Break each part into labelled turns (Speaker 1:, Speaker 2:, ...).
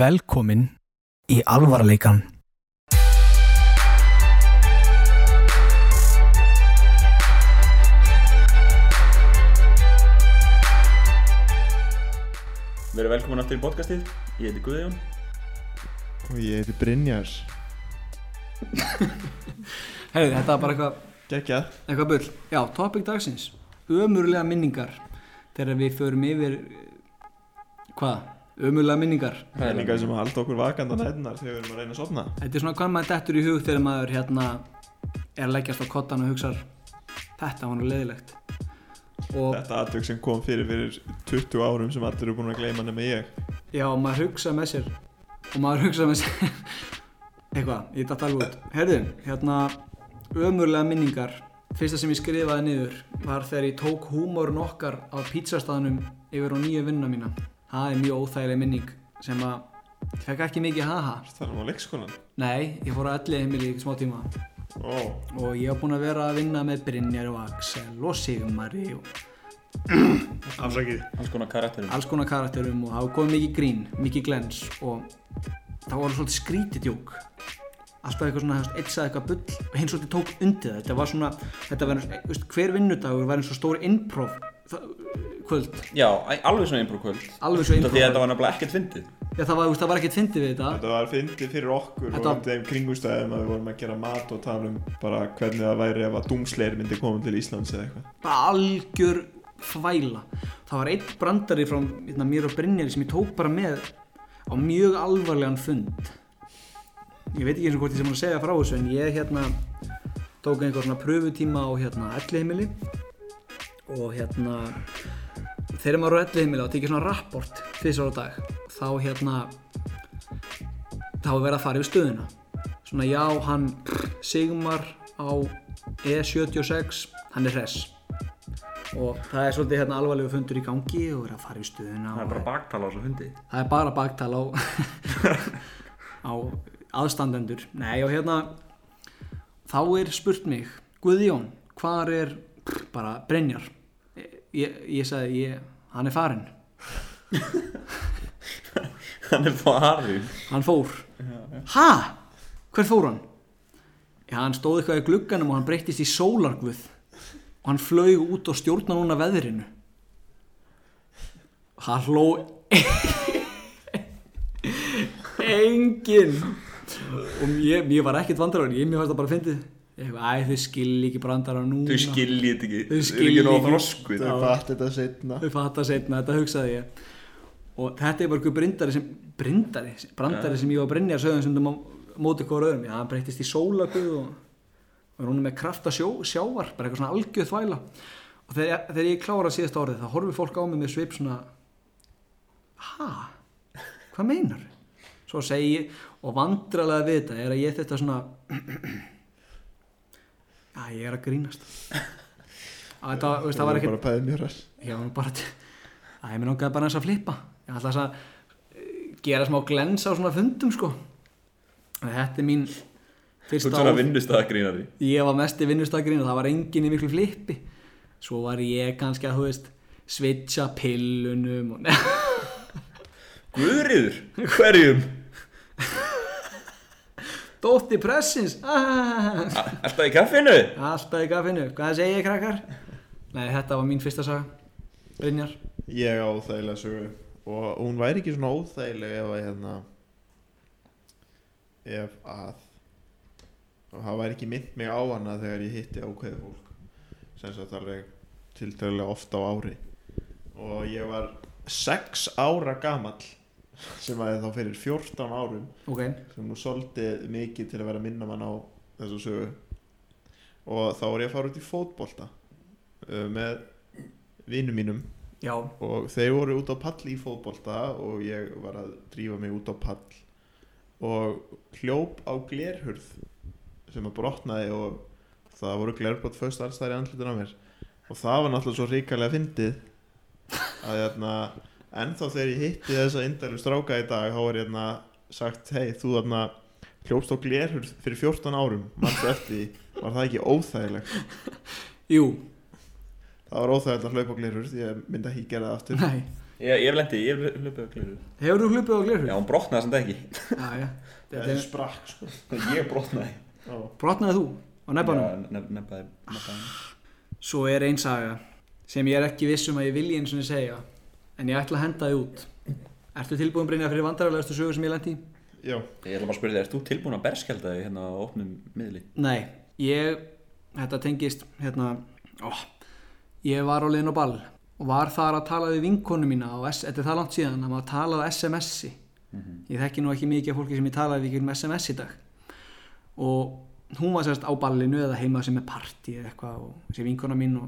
Speaker 1: Velkomin í alvarleikan.
Speaker 2: Við erum velkomin aftur í podcastið, ég heiti Guðjón
Speaker 3: Og ég heiti Brynjar
Speaker 4: Herðu, þetta var bara eitthvað,
Speaker 3: Gekkjað
Speaker 4: eitthvað bull. Já, topic dagsins. Ömurlega minningar. Þegar við förum yfir, eh, hvað? Ömurlega minningar.
Speaker 3: Það er líka sem að halda okkur vakandi á nætunar þegar við erum að reyna að sofna
Speaker 4: Þetta er svona hvað maður dettur í hug þegar maður hérna er að leggjast á kottan og hugsar þetta var nú leðilegt. Og
Speaker 3: Þetta atvök sem kom fyrir fyrir 20 árum sem allir eru búin að gleyma nema ég
Speaker 4: já, maður hugsa með sér og maður hugsa með sér eitthvað, ég datt alveg út. Herðu, hérna ömurlega minningar. Fyrsta sem ég skrifaði niður var þegar ég tók húmorn okkar á pítsastaðnum yfir á nýju vinna mína. Það er mjög óþægileg minning sem að ég fekk ekki mikið haha.
Speaker 3: Það er nú um á leikskólan
Speaker 4: Nei, ég fór á öllu heimili í smá tíma
Speaker 3: Ó,
Speaker 4: og ég var búinn að vera að vinna með Brynjar og Axel og Sigmari og
Speaker 3: afsakið
Speaker 2: Alls konar karakterum
Speaker 4: alls konar karakterum og það var komið mikið grín, mikið glens og það var svolítið skrítið djók alltaf eitthvað svona, hefst, eitt sagði eitthvað bull og hinn svolítið tók undir það þetta var svona, þetta var, eins- veist, hver vinnudagur var eins og stór improv það- kvöld,
Speaker 2: Já, æ- alveg svona improv kvöld
Speaker 4: alveg svo
Speaker 2: Þetta því að þetta
Speaker 4: improv
Speaker 2: var nefnilega ekkert fyndið
Speaker 4: Já, það, var, þú veist, það var ekkert fyndið við þetta
Speaker 3: Þetta var fyndið fyrir okkur
Speaker 4: Þetta-
Speaker 3: og þeim kringustæðum að við vorum að gera mat og tala um bara hvernig það væri ef að dungsleir myndi koma til Íslands eða eitthvað
Speaker 4: bara algjör þvæla það var eitt brandari frá hérna, mér og Brynjari sem ég tók bara með á mjög alvarlegan fund ég veit ekki eins og hvort ég sem var að segja frá þessu en ég hérna tók einhver svona pröfutíma á hérna elliheimili og hérna þegar maður er á elliheimili og tekið svona rapport fyrst á dag þá hérna þá er verið að fara yfir stöðuna svona já, hann Sigmar á E76 hann er hress og það er svolítið hérna alvarlegu fundur í gangi og er að fara yfir stöðuna
Speaker 2: Það er
Speaker 4: og-
Speaker 2: bara baktala á þessu fyndi
Speaker 4: það er bara baktal á á aðstandendur nei og hérna þá er spurt mig Guðjón, hvar er pff, bara Brynjar ég, ég sagði, ég, hann er farinn
Speaker 2: Hann er farinn
Speaker 4: hann fór ha, hver fór hann já, hann stóð eitthvað í glugganum og hann breyttist í sólarguð og hann flög út og stjórna núna veðrinu hann hló e- engin og ég, ég var ekkert vandarar ég mér fannst það bara fyndið Eitthvað, æ, þau skilji ekki brandara núna
Speaker 2: Þau skiljið þetta ekki
Speaker 4: Þau
Speaker 2: eru
Speaker 4: skilja
Speaker 2: ekki nóg
Speaker 4: ekki.
Speaker 2: þroskuð
Speaker 4: Já.
Speaker 3: Þau fatt þetta setna
Speaker 4: þau fatta setna, þetta hugsaði ég og þetta er bara einhver brindari sem brindari, sem- brandari sem ég og Brynjar sögðum sem þú móti hvora öðrum já, hann breyttist í sólaguð og, og er hún með krafta sjó, sjávar bara eitthvað svona algjöð þvæla og þegar, þegar ég klára síðasta orðið þá horfir fólk á mig með svip svona ha, hvað meinar svo segi ég og vandralega við þetta er að ég þetta svona já, ég er að grínast Að þetta, þú veist, það var ekkert
Speaker 3: bara pæðið mjög ræst
Speaker 4: ég var nú bara til að ég mér langaði bara eins að flippa ég ætla þess að eh, gera smá glens á svona fundum sko og þetta er mín
Speaker 2: Þú
Speaker 4: fyrsta
Speaker 2: ert svona vinnustæðagrínari
Speaker 4: ég var mest í vinnustagrin og það var engin í miklu flippi svo var ég kannski að þú veist switcha pillunum og
Speaker 2: Guðriður, hverjum
Speaker 4: dótti pressins ah.
Speaker 2: A- Alltaf í kaffinu
Speaker 4: alltaf í gafinu, hvað segi ég krakkar nei þetta var mín fyrsta saga Brynjar,
Speaker 3: Ég á óþægilega sögu og hún væri ekki svona óþægileg ef að hérna ef að og það væri ekki mynd mig á hana þegar ég hitti ákveðið fólk sem sagt alveg tiltölulega ofta á ári og ég var 6 ára gamall sem að þá fyrir 14 árum
Speaker 4: ok
Speaker 3: sem nú svolítið mikið til að vera að minna mann á þessu sögu og þá var ég að fara út í fótbolta uh, með vinnum mínum
Speaker 4: já,
Speaker 3: og þeir voru út á pall í fótbolta og ég var að drífa mig út á pall og hljóp á glerhurð sem að brotnaði og það voru glerbrot föst alls þar í andlutin á mér og það var náttúrulega svo ríkalega fyndið að hérna ennþá þegar ég hitti þessa indælu stráka í dag þá var ég hérna sagt hei þú þarna hljópst á glerhurð fyrir 14 árum mannstu eftir því var það ekki óþægilegt
Speaker 4: jú,
Speaker 3: það var óþægilegt að hlaupa á glerhurð ég myndi ekki gera það aftur
Speaker 4: nei
Speaker 2: Ég, ég lendi, ég hlupið á gleru
Speaker 4: Hefur þú hlupið á glerhug?
Speaker 2: Já, hún brotnaði samt ekki
Speaker 4: Já, já. Þetta
Speaker 3: Þetta
Speaker 4: er,
Speaker 3: sprakk sko
Speaker 2: Ég brotnaði
Speaker 3: Já.
Speaker 4: brotnaði þú á nebbanum?
Speaker 2: Nefnaði Nefnaði
Speaker 4: Svo er einn saga sem ég er ekki viss um að ég vilji eins og ég segja en ég ætla að henda þið út. Ertu tilbúin Brynja fyrir vandrarlegastu sögu sem ég lendi í?
Speaker 3: Já,
Speaker 2: Ég ætla bara að spyrja þig, ert þú tilbúin að berskjálda þig hérna á opnum miðli?
Speaker 4: Nei, ég, þetta tengist, hérna, ó, ég var á leiðin á ball og var þar að tala við vinkonu mína og þetta er það langt síðan að maður talaði á SMS-i. Ég þekki nú ekki mikið af fólki sem ég talaði við ekki um SMS í dag. Og hún var sérst á ballinu eða heima sem er partí eða eitthvað og þessi vinkona mín og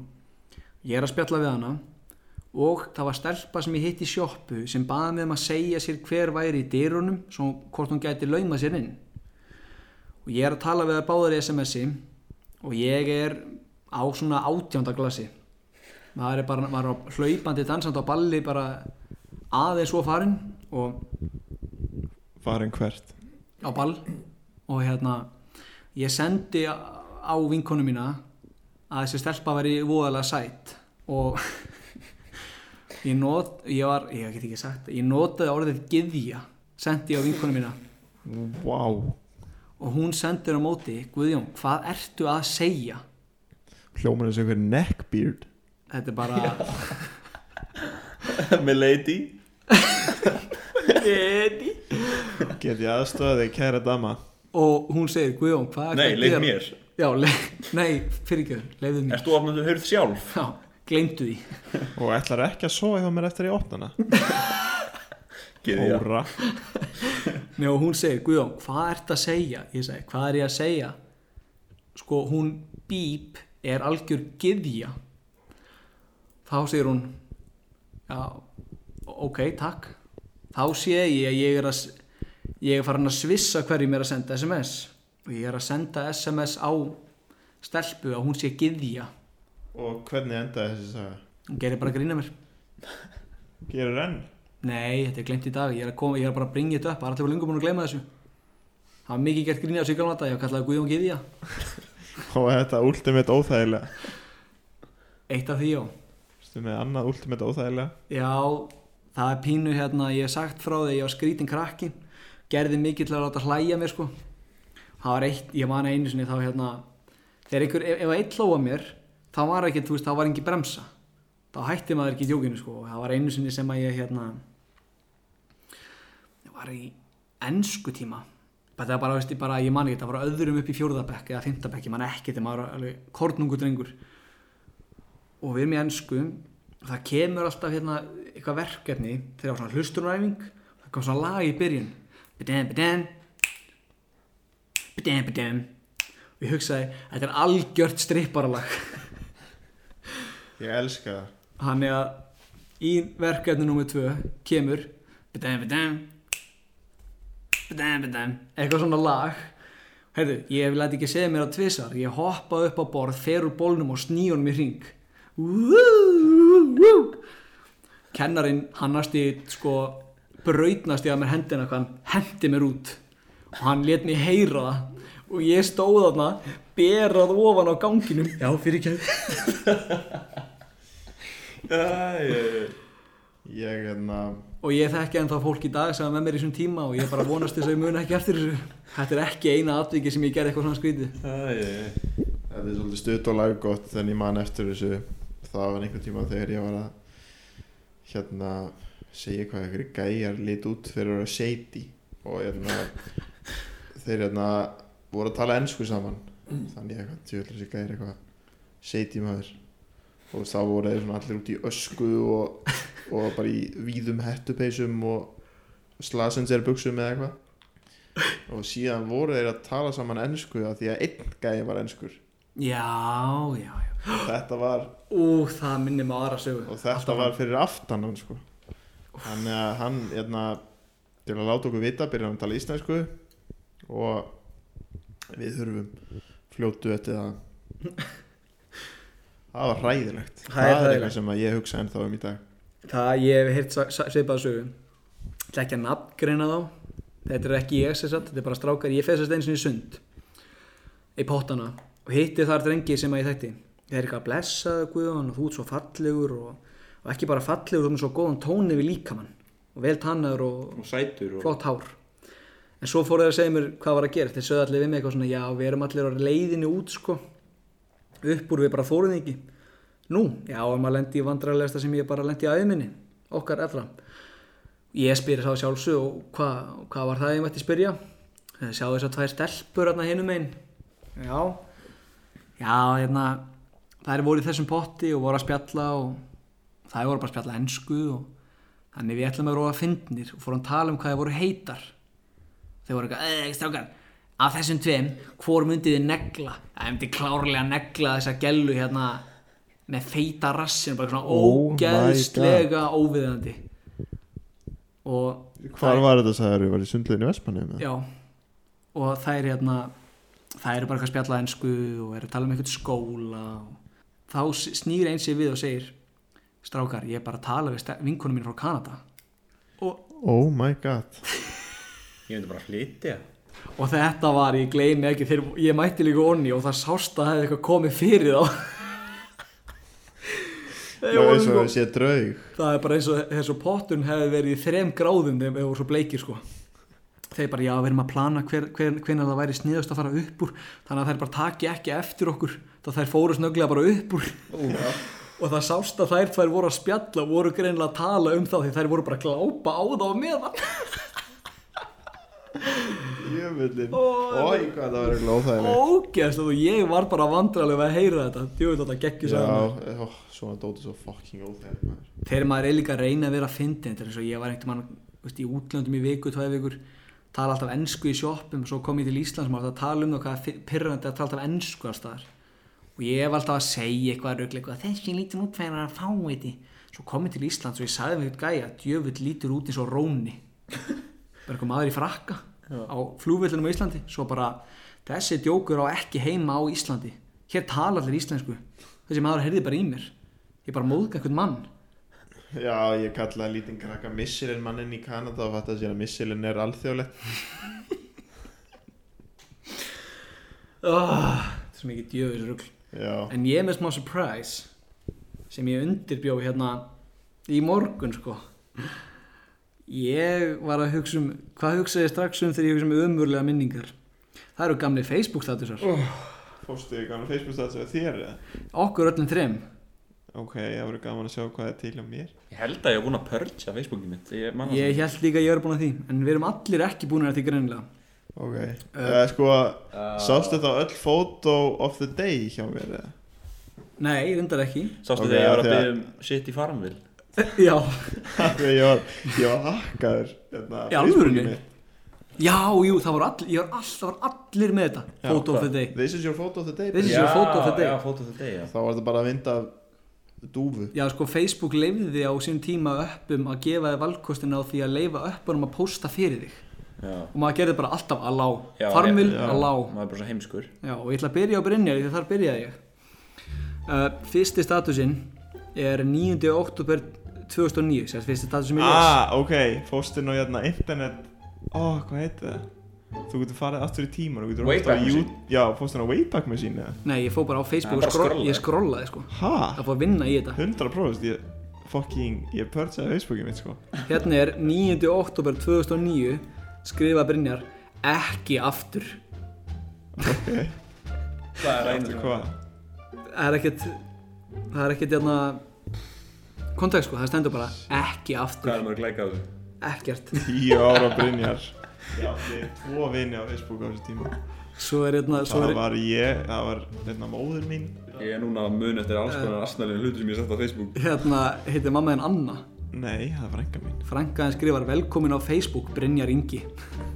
Speaker 4: ég er að spjalla við hana og það var stelpa sem ég hitti í sjoppu sem baði mig um að segja sér hver væri í dyrunum svo hvort hún gæti lauma sér inn og ég er að tala við það báðar í SMS-i og ég er á svona átjánda glasi maður er bara maður er á hlaupandi dansand á balli bara aðeins svo farinn og
Speaker 3: farin hvert
Speaker 4: á ball og hérna ég sendi á vinkonu mína að þessi stelpa veri voðalega sætt og ég not ég var, ég get ekki sagt, ég notaði orðið gyðja, sendi ég á vinkonu mína
Speaker 3: Vá
Speaker 4: og hún sendir á móti Guðjón, hvað ertu að segja?
Speaker 3: Hljóman er sem einhver neckbeard
Speaker 4: Þetta er bara
Speaker 2: Milady
Speaker 4: Gyði.
Speaker 3: Get ég aðstöða þig kæra dama
Speaker 4: og hún segir Guðjón, hvað ertu
Speaker 2: Nei,
Speaker 4: að
Speaker 2: leið
Speaker 4: gera?"
Speaker 2: mér.
Speaker 4: Já, leið, nei, fyrirgjöður, leiðu mér
Speaker 2: Ert þú opnum þú hurð sjálf?
Speaker 4: Já, gleymdu því
Speaker 3: Og ætlar ekki að sofa hjá mér eftir ég opna hana
Speaker 2: Gyðja.
Speaker 3: Óra
Speaker 4: Nei, og hún segir, Guðjón, hvað ert að segja? Ég segi, hvað er ég að segja? Sko, hún bíp er algjör gyðja. Þá segir hún, já, ok, takk. Þá sé ég að ég er að, ég er farin að svissa hverjum er að senda SMS. Og ég er að senda SMS á stelpu að hún sé gyðja.
Speaker 3: Og hvernig endaði þessi saga?
Speaker 4: Hún gerir bara grína mér.
Speaker 3: Gerur enn?
Speaker 4: Nei, þetta er glemt í dag, ég er, að koma, ég er bara að bringa þetta upp, bara til að lunga búin að gleyma þessu. Það var mikið gert grína á síkalmata, ég kallaði Guðjón gyðja.
Speaker 3: Og þetta ultimate óþægilega
Speaker 4: Eitt af því, já.
Speaker 3: Ertu með annað ultimate óþægilega?
Speaker 4: Já, það er pínu hérna, ég hef sagt frá því að ég var skrítin krakki, gerði mikið til að láta hlæja mér, sko. Það var eitt, ég man einu sinni þá hérna, þegar einhver, ef, ef eitt hlóa mér, þá var ekki, þú veist, þá var engin bremsa. Þá hætti maður ekki í djókinu, sko. og Það var einu sinni sem að ég, hérna, ég var í ensku tíma. Þetta var bara, veist, ég bara, ég man ekki, það var öðrum upp í fjórðabekk eða fymtabekk, ég man ekki, þegar maður var alveg kornungu drengur og við erum í ennsku það kemur alltaf hérna eitthvað verkefni þegar það var svona hlustunaræfing það kom svona lag í byrjun bidem, bidem bidem, bidem og ég hugsaði, þetta er algjört stripparalag
Speaker 3: Ég elska það
Speaker 4: þannig að í verkefni nr. 2 kemur bidem, bidem bidem, bidem eitthvað svona lag Heyrðu, ég læti ekki segja mér að tvisar ég hoppa upp á borð, fer úr bólnum og sný honum í ring kennarin hannast í sko brautnast í að mér hendina hvað hann hendi mér út og hann let mér heyra það og ég stóð þarna berað ofan á ganginum já fyrir kæð
Speaker 3: Ég hérna
Speaker 4: og ég þekki ennþá fólk í dag sem er með mér í þessum tíma og ég bara vonast þess að ég muni ekki eftir þessu þetta er ekki eina atviki sem ég gerði eitthvað svona skrítið
Speaker 2: Æ,
Speaker 3: Þetta er svolítið stutt og laggott þannig mann eftir þessu það var einhvern tíma þegar ég var að hérna segja hvað einhverju gæjar lit út fyrir að vera shady og hérna þeir hérna voru að tala ennsku saman þannig eitthvað tjóðlega þessi gæjar eitthvað shady maður og þá voru þeir svona allir út í ösku og, og bara í víðum hettupeysum og slasenser buksum eða eitthvað og síðan voru þeir að tala saman ennsku af því að einn gæjar var ennskur
Speaker 4: já, já, já
Speaker 3: og þetta var,
Speaker 4: Ú, það minnir mig á aðra sögu
Speaker 3: og þetta var fyrir aftan hann sko þannig að hann hérna, til að láta okkur vita byrjar hann að tala íslensku og við þurfum fljótu eftir það það var ræðilegt
Speaker 4: Það er
Speaker 3: það er
Speaker 4: hræðilegt.
Speaker 3: eitthvað sem að ég hugsa ennþá um í dag
Speaker 4: Það ég hef heyrt sa- sa- svipað sögu Það er ekki að nafngreina þá Þetta er ekki ég sem sagt, þetta er bara strákar Ég fesast eins og í sund Í pottana og hitti þar drengi sem að ég þekkti Þeir eru eitthvað blessaðu Guðjón og þú ert svo fallegur og og ekki bara fallegur þú ert með svo góðan tóni við líkamann og vel tannaður og,
Speaker 2: og sætur og
Speaker 4: flott hár en svo fóru þeir að segja mér hvað var að gera þeir sögðu allir við mig eitthvað svona já við erum allir á leiðinni út sko upp úr við bara þóruð ekki nú já ef maður lendi í vandræðilegasta sem ég bara lendi í aðeiminni okkar allra ég spyr þá sjálfsög og hvað hva var það ég mætti spyrja Eh, sjá þess að tvær stelpur hérna hinum einn já já hérna þær voru í þessum potti og voru að spjalla og þær voru bara að spjalla ensku og þannig við ætlum að vera að fyndnir og fórum að tala um hvað þær voru heitar þau voru eitthvað, eða, strákar af þessum tveim, hvor myndið þið negla það myndi klárlega negla þessa gellu hérna með feita rassin bara svona
Speaker 3: Oh my
Speaker 4: ógeðslega óviðandi og
Speaker 3: Hvar var þetta sagður við? Var í sundleginu Vestmanni?
Speaker 4: Já, og það er hérna það eru bara eitthvað spjalla ensku og eru að tala um einhvern skóla og þá s- snýr eins sér við og segir strákar, ég er bara að tala við ste- vinkonum mín frá Kanada og,
Speaker 3: Oh my god
Speaker 2: ég myndi bara að flytja
Speaker 4: og þetta var, ég gleymi ekki þeir, ég mætti líka onni og það sást að það hefði eitthvað komið fyrir þá Þeir
Speaker 3: Það
Speaker 4: voru
Speaker 3: er svo
Speaker 4: sko-
Speaker 3: að sé draug
Speaker 4: Það er bara eins og þessu pottun hefði verið í þrem gráðum þegar við vorum svo bleikir sko. Þeir bara, já, við erum að plana hver, hver, hvenær það væri sniðast að fara upp úr þannig að þær bara taki ekki eftir okkur þá þær fóru snögglega bara upp úr og það sást að þær tvær voru að spjalla og voru greinlega að tala um það því þær voru bara að glápa á það og meðan
Speaker 3: Jöfullin
Speaker 4: Ó,
Speaker 3: Ói hvað það var eitthvað óþægilegt
Speaker 4: Ógeðslega, og ég var bara vandralega að heyra þetta Djúið þetta geggjus að mér
Speaker 3: Já, ó, svona dóti svo fucking óþægilegt maður.
Speaker 4: þegar maður er líka að reyna að vera að fyndi þetta er eins og ég var einhvern mann veist, í útlöndum í viku, tvæði vikur tala alltaf ensku í sjoppum, svo kom ég til Íslands maður var alltaf að tala um það hvað er pyrrandi að tala alltaf ensku alls staðar og ég var alltaf að segja eitthvað röglega eitthvað, þessi lítur út fyrir að fá þetta svo kom ég til Íslands og ég sagði mig eitthvað gæja djöfull lítur út eins og róni bara eitthvað maður í frakka á flúvillinum á Íslandi svo bara, þessi djókur á ekki heima á Íslandi hér tala allir íslensku þessi maður heyrði bara í mér ég bara móðga eitthvað mann
Speaker 3: Já, ég kallaði lítinn krakka Michelin mannin í Kanada og fatt að sér að Michelin er alþjóðlegt
Speaker 4: oh, þetta er svo mikið djöfis rugl
Speaker 3: Já,
Speaker 4: en ég er með smá surprise sem ég undirbjó hérna í morgun sko ég var að hugsa um hvað hugsaði ég strax um þegar ég hugsa um umurlega minningar það eru gamli Facebook statusar
Speaker 3: Oh. fórstu í gamla Facebook status að þér eða?
Speaker 4: okkur öllum þrem
Speaker 3: Ok, það verður gaman að sjá hvað er til á mér
Speaker 2: ég held að ég hef búin að pörja Facebookið mitt ég,
Speaker 3: Ah.
Speaker 2: man það
Speaker 4: ég
Speaker 2: svona.
Speaker 4: held líka að ég er búin að því en við erum allir ekki búin að því greinilega
Speaker 3: Ok,
Speaker 4: Eh.
Speaker 3: uh, sko, sástu þá öll photo of the day hjá mér eða?
Speaker 4: nei, reyndar ekki
Speaker 2: sástu
Speaker 3: Ok,
Speaker 2: þegar ég var
Speaker 3: af
Speaker 2: að
Speaker 3: því að-
Speaker 2: byggja um shit í farmvil
Speaker 4: já,
Speaker 3: Því að ég var, ég var hakkaður hérna,
Speaker 4: Í alvörunni?
Speaker 3: Facebookið mitt.
Speaker 4: já, jú, það voru allir ég var all, það voru allir með þetta,
Speaker 3: Já,
Speaker 4: photo of the day
Speaker 3: This is your photo of the day
Speaker 4: This is
Speaker 3: baby.
Speaker 4: your photo of the day.
Speaker 2: já, photo of the day já.
Speaker 3: Þá var þetta bara að vinda dúfu
Speaker 4: Já, sko, Facebook leifði á sín tíma öppum að gefa þið valkostina á því að leifa öppunum að pósta fyrir þig
Speaker 2: Já.
Speaker 4: og maður gerði bara alltaf alá
Speaker 2: Já,
Speaker 4: farmil,
Speaker 2: já,
Speaker 4: alá
Speaker 2: maður er bara svo heimskur
Speaker 4: Já, og ég ætla að byrja á Brynjar því þar byrjaði ég uh, Fyrsti statusinn er 9. oktober 2009 sérst fyrsti status sem ég les
Speaker 3: Ah, ok, fórstu nú hérna internet Ó, hvað heit það? Þú getur farið aftur í tíman þú getur horft á
Speaker 2: Wayback
Speaker 3: Jú-
Speaker 2: Machine.
Speaker 3: Já, fórstu nú á Wayback Machine eða?
Speaker 4: Nei, ég fó bara á
Speaker 2: Ja,
Speaker 4: Facebook
Speaker 2: bara
Speaker 4: og skro
Speaker 2: scrollaði.
Speaker 4: ég skrollaði sko
Speaker 3: Ha?
Speaker 4: að fá að vinna í þetta
Speaker 3: 100% ég fucking, ég pörtsaði Facebookið mitt sko
Speaker 4: Hérna er 9. oktober 2009 skrifa Brynjar ekki aftur
Speaker 3: Ok,
Speaker 2: það er
Speaker 3: aftur hvað?
Speaker 4: það er ekkert það er ekkert hérna kontakt sko, það stendur bara
Speaker 2: hvað
Speaker 4: ekki
Speaker 2: er
Speaker 4: aftur,
Speaker 2: maður að glæka á þessu
Speaker 4: ekkert
Speaker 3: 10 ára Brynjar Ég átti tvo vini á Facebook á þessu tíma
Speaker 4: svo er hérna svo
Speaker 3: Það
Speaker 4: er,
Speaker 3: var ég, það var hérna móður mín
Speaker 2: ég er núna að mun eftir alls
Speaker 4: Eh.
Speaker 2: konar asnalinn hlutur sem ég sett á Facebook
Speaker 4: hérna heitir mamma þinn Anna
Speaker 3: Nei, það var enga mín
Speaker 4: frænkaðin skrifar velkomin á Facebook Brynjar Ingi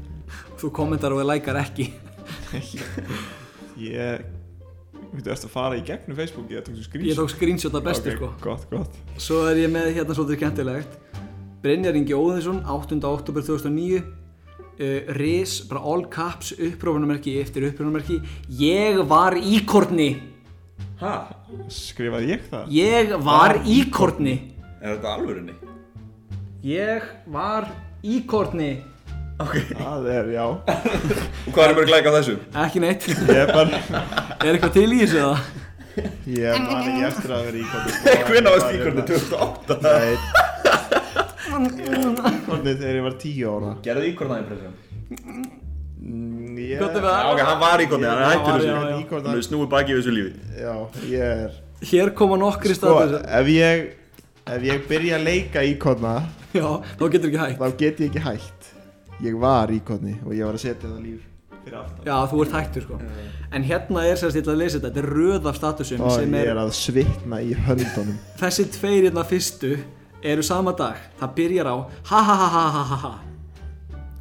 Speaker 4: þú kommentar og við lækar ekki
Speaker 3: Ég, þú ert að fara í gegnum Facebookið, það tókstu skrýs
Speaker 4: ég tók screenshot að bestu sko
Speaker 3: Gott, gott
Speaker 4: svo er ég með hérna svolítið skemmtilegt Brynjar Ingi Óðinsson 8. oktober 2009 uh, Riz, bara all caps upprófunumerki eftir upprófunumerki ég var íkorni
Speaker 2: ha?
Speaker 3: Skrifaði ég það?
Speaker 4: ég
Speaker 2: Ah,
Speaker 4: var íkorni
Speaker 2: er þetta alvörinni?
Speaker 4: ég var íkorni
Speaker 3: Það er, já
Speaker 2: og hvað er maður að glæka á þessu?
Speaker 4: ekki neitt
Speaker 3: Ég er bara,
Speaker 4: er eitthvað til í þessu það
Speaker 3: Ég man ekki eftir að vera í
Speaker 2: Hvernig varst því hvernig 28?
Speaker 3: Nei, hvernig þegar ég var 10 ára
Speaker 2: Gerðu íkorna impression?
Speaker 3: Mm, ég-
Speaker 4: Gott ef að-
Speaker 2: Já, ok, hann var íkorni, hann er
Speaker 3: Ég-
Speaker 2: hættur
Speaker 4: var-
Speaker 2: þessu
Speaker 4: já, já.
Speaker 3: Íkorni-
Speaker 2: Hann er snúið baki við þessu lífi
Speaker 3: Já, ég er
Speaker 4: Hér koma nokkri
Speaker 3: Sko,
Speaker 4: staðar
Speaker 3: ef ég Ef ég byrja að leika íkonna
Speaker 4: Já, þá getur ekki hægt
Speaker 3: Þá get ég ekki hætt Ég var íkonni og ég var að setja það líf Fyrir aftan
Speaker 4: Já, þú ert hættur sko En hérna er sérst, ég ætla að lesa þetta Þetta er röð af statusum
Speaker 3: Og
Speaker 4: sem
Speaker 3: ég
Speaker 4: er,
Speaker 3: er að svitna í höndunum
Speaker 4: Þessi tveir hérna fyrstu eru sama dag Það byrjar á ha ha ha ha ha ha ha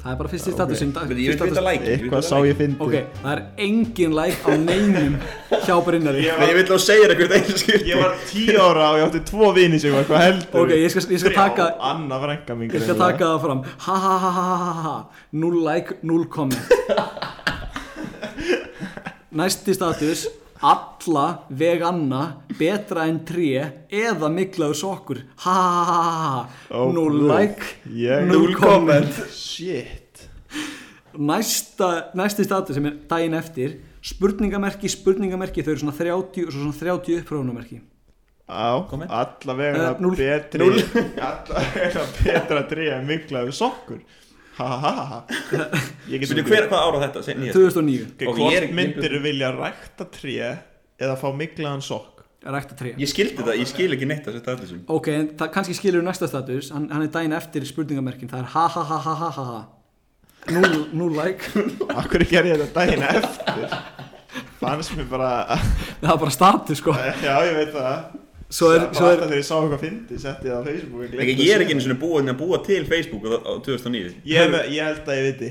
Speaker 4: Það er bara fyrsti statusinn
Speaker 2: Ég
Speaker 4: dag-
Speaker 2: vil
Speaker 4: fyrsti
Speaker 2: vita
Speaker 4: status-
Speaker 2: lækin
Speaker 3: Eitthvað sá ég fyndi
Speaker 4: Ok, það er engin læk á neinum hjá Brynjari
Speaker 2: Nei, ég vil þá segja þér eitthvað einu skipt
Speaker 3: Ég var 10 ára og ég átti tvo vini sem var eitthvað heldur
Speaker 4: Ok, ég skal- ég skal taka-
Speaker 3: Anna frænka mín
Speaker 4: Ég skal
Speaker 3: greinilega.
Speaker 4: taka það fram Ha ha ha ha ha ha ha Null like, null comment Næsti status Alla veganna Betra en tré Eða miklaður sokkur Ha ha ha ha ha ha
Speaker 3: Ó,
Speaker 4: Null
Speaker 3: guð.
Speaker 4: like,
Speaker 3: Ég-
Speaker 4: null comment
Speaker 3: Shit
Speaker 4: Næsta, Næsti status sem er daginn eftir Spurningamerki, spurningamerki Þau eru svona 30 og svo svona 30 upprófunamerki
Speaker 3: Á,
Speaker 2: Comment?
Speaker 3: allavega
Speaker 4: Eh, núll.
Speaker 3: betri
Speaker 2: Núll.
Speaker 3: Allavega betra tré en miklaðu sokkur Ha ha ha ha Ég get
Speaker 2: Veitu, hver, hvað ára þetta? Segni ég
Speaker 4: 2009
Speaker 3: Ok,
Speaker 2: Ok, ég er-
Speaker 3: Hvort
Speaker 2: ég-
Speaker 3: myndir vilja rækta tré eða fá miklaðan sokk?
Speaker 4: Rækta tré
Speaker 2: Ég skildi þetta, ég skil ekki neitt að setja allir sem
Speaker 4: Ok, en það kannski skilur við næsta status hann, hann er daginn eftir spurningamerkin Það er ha ha ha ha ha ha ha Null, null like
Speaker 3: Akkur gerði ég þetta daginn eftir? Fannst mér bara,
Speaker 4: Það er bara status sko
Speaker 3: já ég veit það
Speaker 4: Svo er,
Speaker 3: Bara
Speaker 4: svo er
Speaker 3: alltaf þegar ég sá eitthvað fyndi, setti ég það á Facebook og
Speaker 2: Ég,
Speaker 3: gleymdi
Speaker 2: ég er
Speaker 3: að
Speaker 2: ekki
Speaker 3: segja
Speaker 2: einu sinni búin að búa til Facebook á, á 2009
Speaker 3: það. ég, hef- ég held að ég viti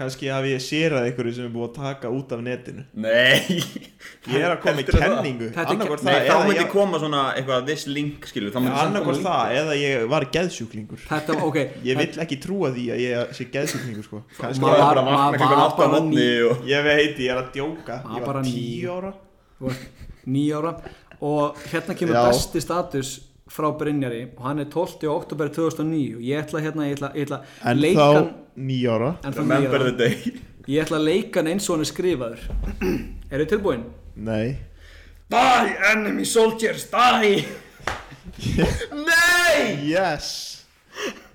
Speaker 3: Kanski hafi ég sérað einhverju sem er búið að taka út af netinu
Speaker 2: Nei
Speaker 3: Ég er að koma í
Speaker 2: Heldurðu það?
Speaker 3: kenningu
Speaker 4: Þetta er ke-
Speaker 3: Annarkvort
Speaker 2: Nei,
Speaker 3: það,
Speaker 2: þá
Speaker 3: eða
Speaker 2: myndi
Speaker 3: ég-
Speaker 2: koma svona eitthvað this link skilur
Speaker 3: Já, annarkvort það eða ég var geðsjúklingur
Speaker 4: Þetta, ok
Speaker 3: Ég vill ekki trúa því að ég sé geðsjúklingur sko Kannski
Speaker 2: Maður
Speaker 4: Maður var-
Speaker 2: bara
Speaker 4: maður
Speaker 2: vakna klukkan 8
Speaker 4: var
Speaker 2: á
Speaker 4: bara
Speaker 2: mótni
Speaker 4: ný.
Speaker 2: og
Speaker 3: Ég veit, ég er að djóka
Speaker 4: Maður
Speaker 3: Ég
Speaker 4: bara
Speaker 3: var
Speaker 4: níu.
Speaker 3: tíu ára
Speaker 4: Nýja ára Og hérna kemur
Speaker 3: Já.
Speaker 4: besti status frá Brynjari Og hann er 12. oktober 2009 Og ég ætla hérna, ég ætla, ég ætla
Speaker 3: En
Speaker 4: leikan,
Speaker 3: þá níu ára
Speaker 4: En þá nýja
Speaker 2: remember
Speaker 4: ára
Speaker 2: the day
Speaker 4: Ég ætla leikan eins og hann er skrifaður Eru tilbúin?
Speaker 3: Nei
Speaker 2: Die enemy soldiers, die Nei
Speaker 3: Yes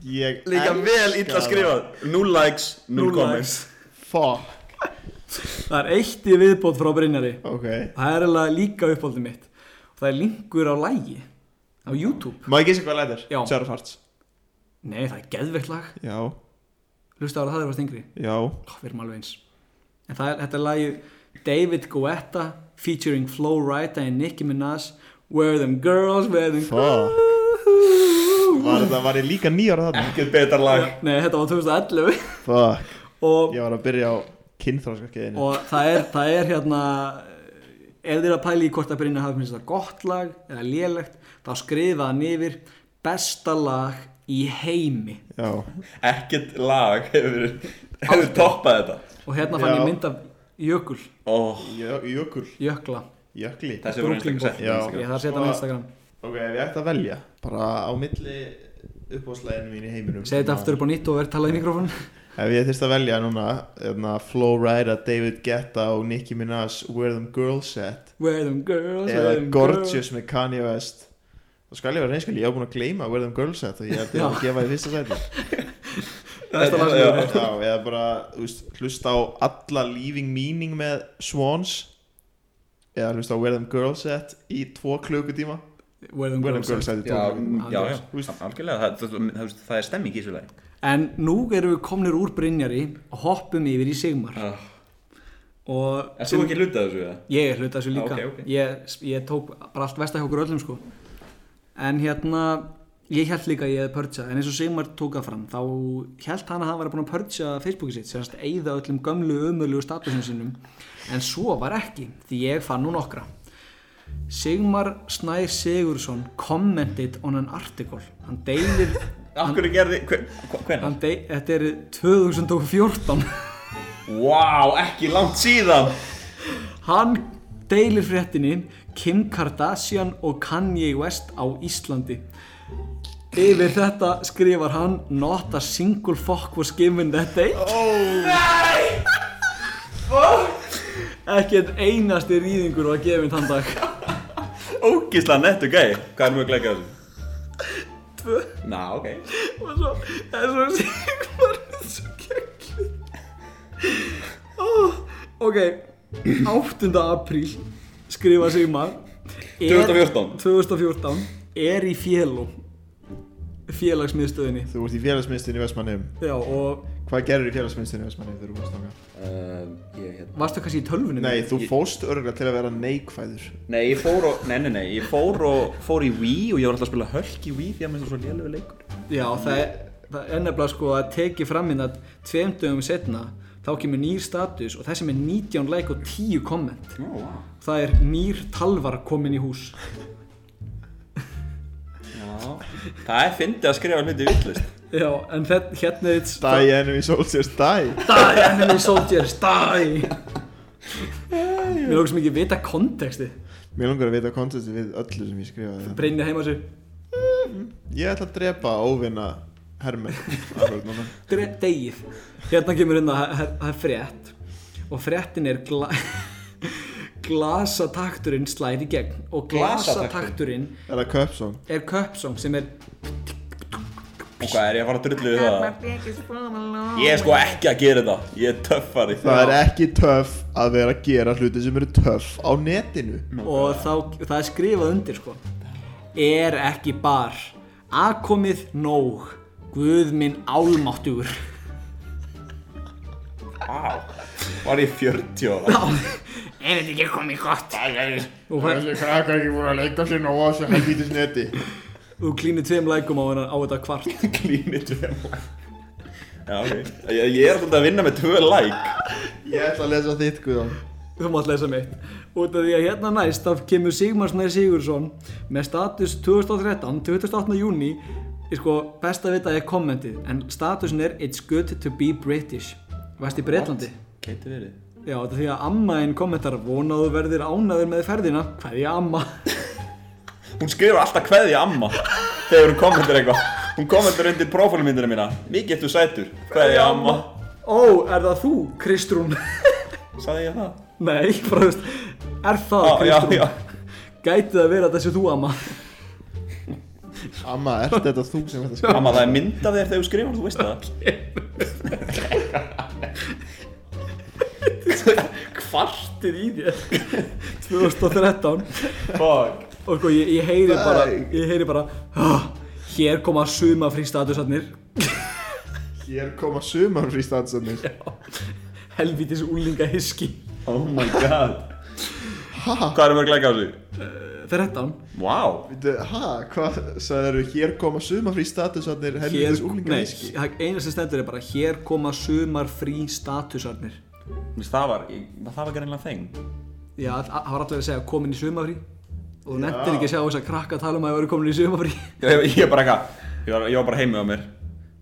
Speaker 3: Ég
Speaker 2: Líka
Speaker 3: elska
Speaker 2: vel illa
Speaker 3: það.
Speaker 2: skrifað Null likes, null
Speaker 4: Null
Speaker 2: comments
Speaker 3: Fuck
Speaker 4: Það er eitt í viðbót frá Brynjari
Speaker 3: Ok
Speaker 4: Það er alveg líka uppáldið mitt og það er linkur á lægi á YouTube
Speaker 3: Má ég gísa hvað læðir?
Speaker 4: Já.
Speaker 3: Sarah Farts
Speaker 4: Nei, það er geðveikt lag
Speaker 3: Já
Speaker 4: Hlusta ára það er vast yngri
Speaker 3: Já
Speaker 4: Ó, Við erum alveg eins En það er, þetta er lagi David Guetta featuring Flo Rida and Nicki Minaj Where them girls, where them
Speaker 3: Fuck Var þetta, var ég líka níu ára þarna?
Speaker 2: Ekkert betar lag
Speaker 4: Nei, þetta var 2011
Speaker 3: Fuck
Speaker 4: og,
Speaker 3: Ég var að byrja á kynþráskakeiðinu
Speaker 4: og það, er, það er hérna Ef þið er að pæla í hvort að byrja hafa finnst þetta gott lag eða lélegt þá skrifa hann yfir besta lag í heimi
Speaker 3: Já
Speaker 2: Ekkert lag hefur, hefur toppað þetta
Speaker 4: og hérna fann
Speaker 3: Já.
Speaker 4: ég mynd af jökul,
Speaker 2: oh,
Speaker 3: Jö- Jökul
Speaker 4: jökla
Speaker 3: Jökli
Speaker 2: Þessi voru
Speaker 4: Brooklyn
Speaker 2: einstaklega sett
Speaker 3: Já.
Speaker 4: ég
Speaker 2: einstaklega.
Speaker 4: þarf að setja hann á Instagram
Speaker 3: Ok, ef ég ætti að velja Bara á milli uppáslæðinu mín í heiminum
Speaker 4: segja þetta aftur upp á nýtt og verð talað í mikrofon
Speaker 3: Ef ég þyrst að velja núna hérna, Flo Rida, David Guetta og Nicki Minaj Where them girls at
Speaker 4: where them girls,
Speaker 3: eða
Speaker 4: where them girls
Speaker 3: Gorgeous með Kanye West þá skal ég vera reynskjöld, ég hef búin að gleyma Where them girls at og ég held ég
Speaker 4: Já.
Speaker 3: að gefa í fyrsta sæti
Speaker 4: Besta lag sem
Speaker 2: Já.
Speaker 4: þú hefur.
Speaker 3: Já, eða bara þú veist, hlusta á alla Leaving Meaning með Swans eða hlusta á Where them girls at í tvo klukutíma
Speaker 4: where them
Speaker 3: Where them
Speaker 4: girls
Speaker 3: girls at
Speaker 4: are.
Speaker 3: í tvo
Speaker 2: Já,
Speaker 3: klukutíma
Speaker 2: já, já,
Speaker 3: Þú veist-
Speaker 2: algjörlega það, það, það, það er stemming í þessu lagi
Speaker 4: en nú erum við komnir úr Brynjari og hoppum yfir í Sigmar og
Speaker 2: Er Ah. þú ekki hlutað þessu eða?
Speaker 4: ég er hluta þessu líka
Speaker 2: Ah, ok, ok.
Speaker 4: Ég, ég tók bara allt vesta hjá okkur öllum sko en hérna ég held líka að ég hefði pörtsa en eins og Sigmar tók það fram þá held hann að hann var búin að pörtsa Facebooki sitt sérst eigða öllum gömlu umölu statusum sínum en svo var ekki því ég fann nú nokkra Sigmar Snær Sigursson commented on an article hann deilir
Speaker 2: Af hverju gerði, hvernig?
Speaker 4: hann de, þetta er 2014
Speaker 2: Vá, ekki langt síðan
Speaker 4: Hann deilir fréttinni Kim Kardashian og Kanye West á Íslandi Yfir þetta skrifar hann Not a single fuck was given that day oh. Nei Fuck Ekki einn einasti rýðingur var gefinn þann dag
Speaker 2: Ógislega nettu gæi Hvað er mjög glækjað þessu?
Speaker 4: Tvö.
Speaker 2: Ná, ok
Speaker 4: og svo, það er svo Sigmar er svo geggjuð oh, ok 8. apríl skrifa Sigmar er-
Speaker 2: 2014.
Speaker 4: 2014 er í félum félagsmiðstöðinni
Speaker 3: Þú ert í félagsmyndstinni Vestmannum
Speaker 4: já og
Speaker 3: Hvað gerir í félagsmyndstinni Vestmannum þegar þú varst þangað?
Speaker 2: uh, ég, hérna.
Speaker 4: varstu kannski í tölvunum
Speaker 3: Nei, þú
Speaker 2: Ég-
Speaker 3: fóst örgulega til að vera neikvæður
Speaker 2: Nei, ég fór og Nei, nei, nei Ég fór og Fór í Wii Og ég var alltaf að spila hölk í Wii Því að mér finnst það svo lélögu leikur
Speaker 4: já það er, það er nefnilega sko að teki fram hérna tveim dögum setna þá kemur nýr status og þessi með 19 like og 10 komment
Speaker 2: Ó, vá
Speaker 4: það er nýr talvar komin í hús
Speaker 2: Já Það er fyndið að skrifa hluti vittlust
Speaker 4: já en þetta hérna er þetta-
Speaker 3: Die enemy soldiers die
Speaker 4: Die enemy soldiers, die Mér lókast mikið að vita konteksti
Speaker 3: Mér langar að vita kontesti við öllu sem ég skrifaði
Speaker 4: Brynja heima sér
Speaker 3: Ég ætla að drepa óvinna hermenn akkurat núna.
Speaker 4: dre- Degið Hérna kemur hérna, það- það það er frétt Og fréttin er gla Glasatakturinn slæði í gegn Og glasatakturinn
Speaker 3: Er það Köpsson?
Speaker 4: er köpsong sem er
Speaker 2: Og hvað er ég að fara að drullu við það? Ég er sko ekki að gera þetta Ég er töffari
Speaker 3: Það er ekki töff að vera að gera hluti sem eru töff á netinu
Speaker 4: Og þá, það er skrifað undir sko Er ekki bar Akomið nóg Guð minn álmáttugur
Speaker 2: Vá Var ég 40 ára?
Speaker 4: Er þetta ekki komið gott?
Speaker 3: Það er
Speaker 4: Og hvað-
Speaker 3: krakkar ekki búin að leika sér nóg á þessu helvítis neti
Speaker 4: Þú klínir tveim lækum á, hennar- á þetta kvart
Speaker 2: Klínir tvö like. Já, ok Ég, ég er svolítið að vinna með tvö like
Speaker 3: Ég ætla að lesa þitt Guðan
Speaker 4: Þú mátt lesa mitt Út af því að hérna næst þá kemur Sigmar Snær Sigursson með status 2013, 28. júni Ég sko, best að vita er kommentið en statusin er It's good to be British Vast í Breitlandi
Speaker 2: Geti verið
Speaker 4: Já, þetta er því að amma einn kommentar vonaðu verðir ánaður með ferðina Hvað ég amma?
Speaker 2: Hún skrifur alltaf kveðja amma Þegar hún kommentar eitthvað Hún kommentar undir prófálmyndina mína Mikið þú sætur Kveðja amma
Speaker 4: Ó, er það þú, Kristrún?
Speaker 2: Saði ég það?
Speaker 4: Nei, fráðust Er það,
Speaker 2: Á, Ah, já,
Speaker 4: Kristrún?
Speaker 2: já
Speaker 4: Gæti það verið að þessi þú amma?
Speaker 3: Amma, ert þetta þú sem þetta skrifa?
Speaker 2: Amma það er mynd af þér þegar þú skrifar Þú veist það
Speaker 4: Kvartið í þér 2013
Speaker 2: Fuck
Speaker 4: og sko ég, ég heyri bara
Speaker 3: Nei.
Speaker 4: ég heyri bara "Ah, hér koma suma frístatusarnir
Speaker 3: Hér koma sumar frístansarnir
Speaker 4: helvitis úlinga hiski
Speaker 2: Oh my god Hvað er mörg leika á sig?
Speaker 4: 13
Speaker 2: Wow
Speaker 3: Ha, hvað sagður Hér koma sumar frístansarnir helvítis
Speaker 4: nei,
Speaker 3: úlingaríski
Speaker 4: það eina sem stendur er bara hér koma sumar frístatusarnir
Speaker 2: Þú veist, Það var, ég- það var ekki reynilega þeng
Speaker 4: já, það það var allir að segja komin í sumafrí og þú nettir ekki að sjá þess að krakka tala um að ég væri komin í sumafrí
Speaker 2: Ég, ég, ég bara eitthvað ég, var- ég var bara heimið á mér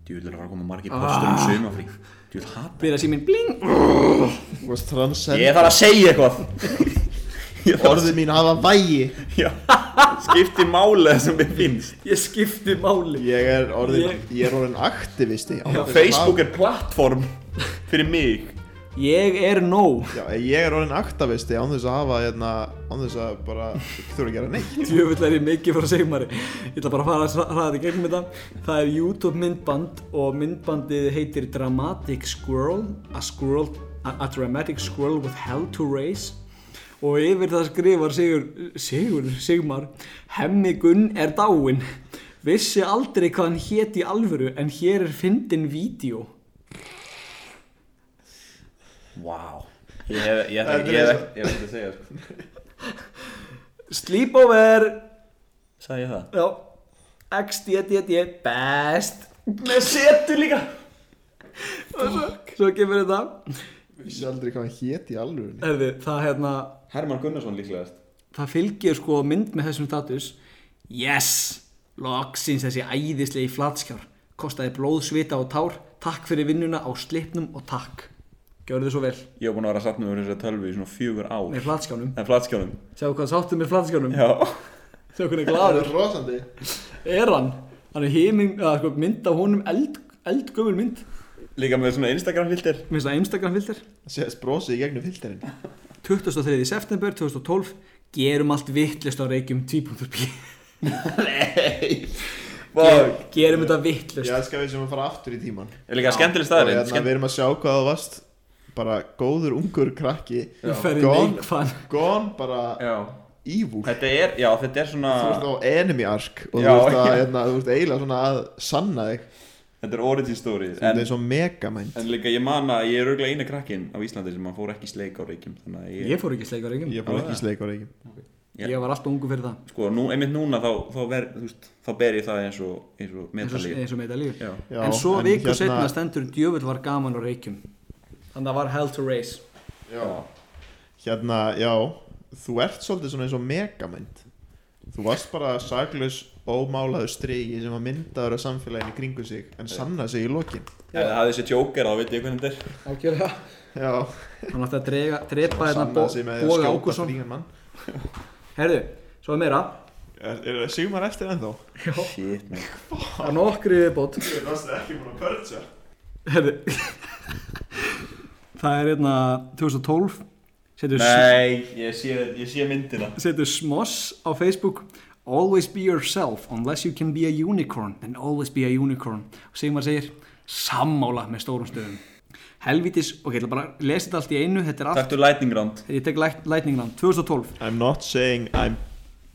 Speaker 2: Djúvill er að fara að koma margir postur
Speaker 3: Ah.
Speaker 2: um sumafrí Djúvill hata
Speaker 4: byrja síminn bling
Speaker 3: Þú varst transcend
Speaker 2: Ég þarf að segja eitthvað Ég þarf að
Speaker 3: Orðið mín hafa vægi
Speaker 2: segja Skipti máli sem mér finnst
Speaker 4: ég skipti máli
Speaker 3: Ég er orðin,
Speaker 4: Ég-
Speaker 3: ég er orðin aktivisti á
Speaker 2: Já,
Speaker 3: þessu
Speaker 2: Facebook
Speaker 3: máli.
Speaker 2: er plattform fyrir mig
Speaker 4: ég er nóg
Speaker 3: Já, eh, ég er orðin aktivisti án þess að hafa hérna, án þess að bara þurfa að gera neitt
Speaker 4: Djöfull er ég mikið frá Sigmari Ég ætla bara að fara að hraða þetta í gegnum þetta Það er YouTube myndband og myndbandið heitir Dramatic Squirrel A Squirrel A, a Dramatic Squirrel with Hell to Raise og yfir það skrifar Sigur Sigur, Sigmar Hemmi Gunn er dáinn Vissi aldrei hvað hann hét í alvöru en hér er fyndin vídeo
Speaker 2: Vá Ég hef, ég hef,
Speaker 3: Þetta er
Speaker 2: ég hef,
Speaker 3: eins og-
Speaker 2: ég hef ekki að segja sko
Speaker 4: Sleepover
Speaker 2: Sæði ég það?
Speaker 4: Já XDDD Best Með setu líka Og svo, svo kemur þetta
Speaker 3: Vissi aldrei hvað hann hét í alvörunni
Speaker 4: Herði, það hérna
Speaker 2: Herman Gunnarsson líklegast
Speaker 4: Það fylgir sko mynd með þessum status Yes Loksins þessi æðislegi flatskjár Kostaði blóð, svita og tár Takk fyrir vinnuna á slipnum og takk Gjörðu þið svo vel
Speaker 2: Ég hef búin að vera að sapna með þessari tölvi í svona fjögur ár
Speaker 4: Með flatskjánum
Speaker 2: En flatskjánum
Speaker 4: Sjáu hvað sáttu með flatskjánum
Speaker 2: Já
Speaker 4: Sjáu hvernig
Speaker 3: Það
Speaker 4: glaður
Speaker 3: er rosandi
Speaker 4: er hann Hann er heimin, að, sko, mynd af honum eld, eldgöful mynd
Speaker 2: Líka með svona Instagram filter
Speaker 4: Mér finnst það Instagram filter
Speaker 3: Sést brosi í gegnum filterinn
Speaker 4: 23. september 2012 gerum allt vittlust á reykjum 2.p
Speaker 2: Nei Vá,
Speaker 4: gerum þetta vittlust
Speaker 3: Ég elska við sem að fara aftur í tíman
Speaker 2: er líka skemmtileg
Speaker 3: Og
Speaker 2: staðarinn
Speaker 3: hérna,
Speaker 2: skemmt...
Speaker 3: við erum að sjá hvað það varst Bara góður ungur krakki
Speaker 4: við ferðum
Speaker 3: Gone.
Speaker 4: neikvæðan
Speaker 3: Gone bara
Speaker 2: Já,
Speaker 3: evil
Speaker 2: þetta er, já, þetta er svona
Speaker 3: Þú ert á enemy arc Og
Speaker 2: Já,
Speaker 3: þú ert, að,
Speaker 2: já.
Speaker 3: hérna, þú ert eiginlega svona að sanna þig
Speaker 2: Þetta er origin story
Speaker 3: Það
Speaker 2: en,
Speaker 3: er svo megamind
Speaker 2: en líka ég man að ég er auðvitað eina krakkin á Íslandi sem að fór ekki í sleik á reykjum Þannig að ég,
Speaker 4: ég fór ekki í sleik á reykjum
Speaker 3: Ég fór ekki í sleik á reykjum
Speaker 2: Já.
Speaker 4: ég var alltaf ungu fyrir það
Speaker 2: sko, nú, einmitt núna þá, þá, ver, þú veist, þá ber ég það eins og, eins og
Speaker 4: eins og,
Speaker 2: metalíf
Speaker 4: eins og meita líf
Speaker 2: Já,
Speaker 3: Já,
Speaker 4: en svo
Speaker 3: en
Speaker 4: viku
Speaker 3: hérna-
Speaker 4: hérna... setna stendur djöfull var gaman á reykjum þannig að það var hell to race
Speaker 2: já,
Speaker 3: Hérna, já Þú ert svolítið svona eins og megamind Þú varst bara saklaus ómálaðu strigi sem að myndaður af samfélaginu í kringu sig en sanna sig í lokin
Speaker 2: Ef það hafði þessi jóker þá veit ég hvernig þetta er
Speaker 4: ákjörlega
Speaker 3: Já,
Speaker 4: hann átti að drega, drepa hérna
Speaker 3: sanna sig með því að
Speaker 4: Bóga
Speaker 3: skjóta
Speaker 4: Ákusson
Speaker 3: frígan mann
Speaker 4: herðu, svo er meira
Speaker 3: Er, er Sigmar eftir ennþá?
Speaker 2: Shit, man
Speaker 4: það er nokkri viðbót
Speaker 3: Ég er náttúrulega ekki búin að pörja
Speaker 4: herðu það er hérna 2012 setur
Speaker 2: Nei, ég sé, ég sé myndina
Speaker 4: setur Smoss á Facebook Always be yourself unless you can be a unicorn then always be a unicorn og Sigmar segir sammála með stórum stöðum helvitis, ok, ég ætla bara að lesa þetta allt í einu þetta er allt,
Speaker 2: Takktu lightning round
Speaker 4: ég tek læt- lætningina 2012
Speaker 3: I'm not saying I'm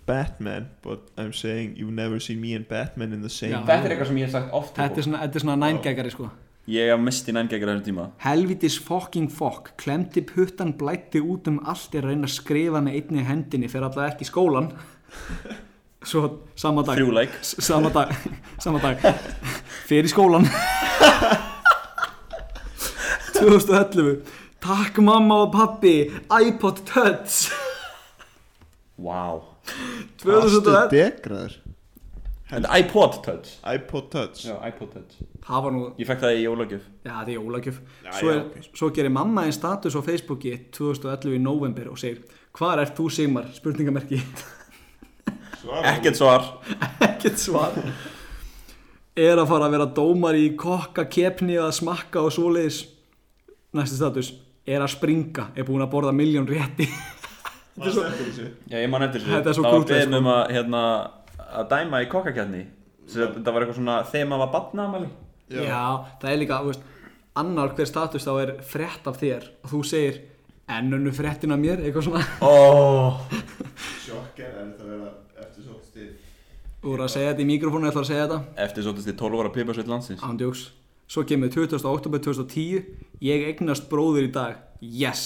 Speaker 3: Batman but I'm saying you've never seen me and Batman in the same
Speaker 4: Já.
Speaker 2: Þetta er eitthvað sem ég hef sagt oft við
Speaker 4: þetta er svona, þetta er svona nængækari sko
Speaker 2: fólk. Ég hef mest í nængækjara þessum tíma
Speaker 4: Helvitis fucking fuck, klemdi puttan blætti út um allt er að reyna að skrifa með einni hendinni fyrir alltaf ekki í skólan Svo sama dag
Speaker 2: Þrjú læk
Speaker 4: S- Sama dag, sama dag Fyrir í skólan 2011 Takk mamma og pappi iPod Touch
Speaker 2: Wow
Speaker 4: 2011
Speaker 3: degraður
Speaker 2: Þetta er iPod Touch
Speaker 3: iPod Touch
Speaker 2: Já, iPod Touch
Speaker 4: Það var nú,
Speaker 2: Ég fekk það í jólagjöf
Speaker 4: já þetta er jólagjöf
Speaker 3: Já,
Speaker 4: svo,
Speaker 3: já,
Speaker 4: er, svo gerir mamma einn status á Facebooki 2011 í november og segir Hvar ert þú Sigmar? Spurningamerki
Speaker 2: Ekkert svar
Speaker 4: ekkert svar er að fara að vera dómar í kokka, kepni eða smakka og svoleiðis næsti status er að springa, er búin að borða miljón rétti
Speaker 3: Þetta
Speaker 2: Já, ég man eftir þessu
Speaker 4: Þetta er svo
Speaker 2: Það var
Speaker 4: krútlegt, sko.
Speaker 2: beðin um að, hérna, að dæma í kokkakjarni Það var eitthvað svona Þeim að var batnaðamæli
Speaker 3: Já.
Speaker 4: já, það er líka þú veist, annar hver status þá er frett af þér og þú segir ennunnu frettin af mér, eitthvað svona
Speaker 2: Oh.
Speaker 3: Sjokker er þetta að vera eftir svolítið
Speaker 4: þú voru að segja þetta í mikrofónu, ég ætla að segja þetta
Speaker 2: Eftir svo þessi 12 ára pipasveit landsins
Speaker 4: ándjóks, svo kemur 20. oktober 2010, ég eignast bróður í dag, yes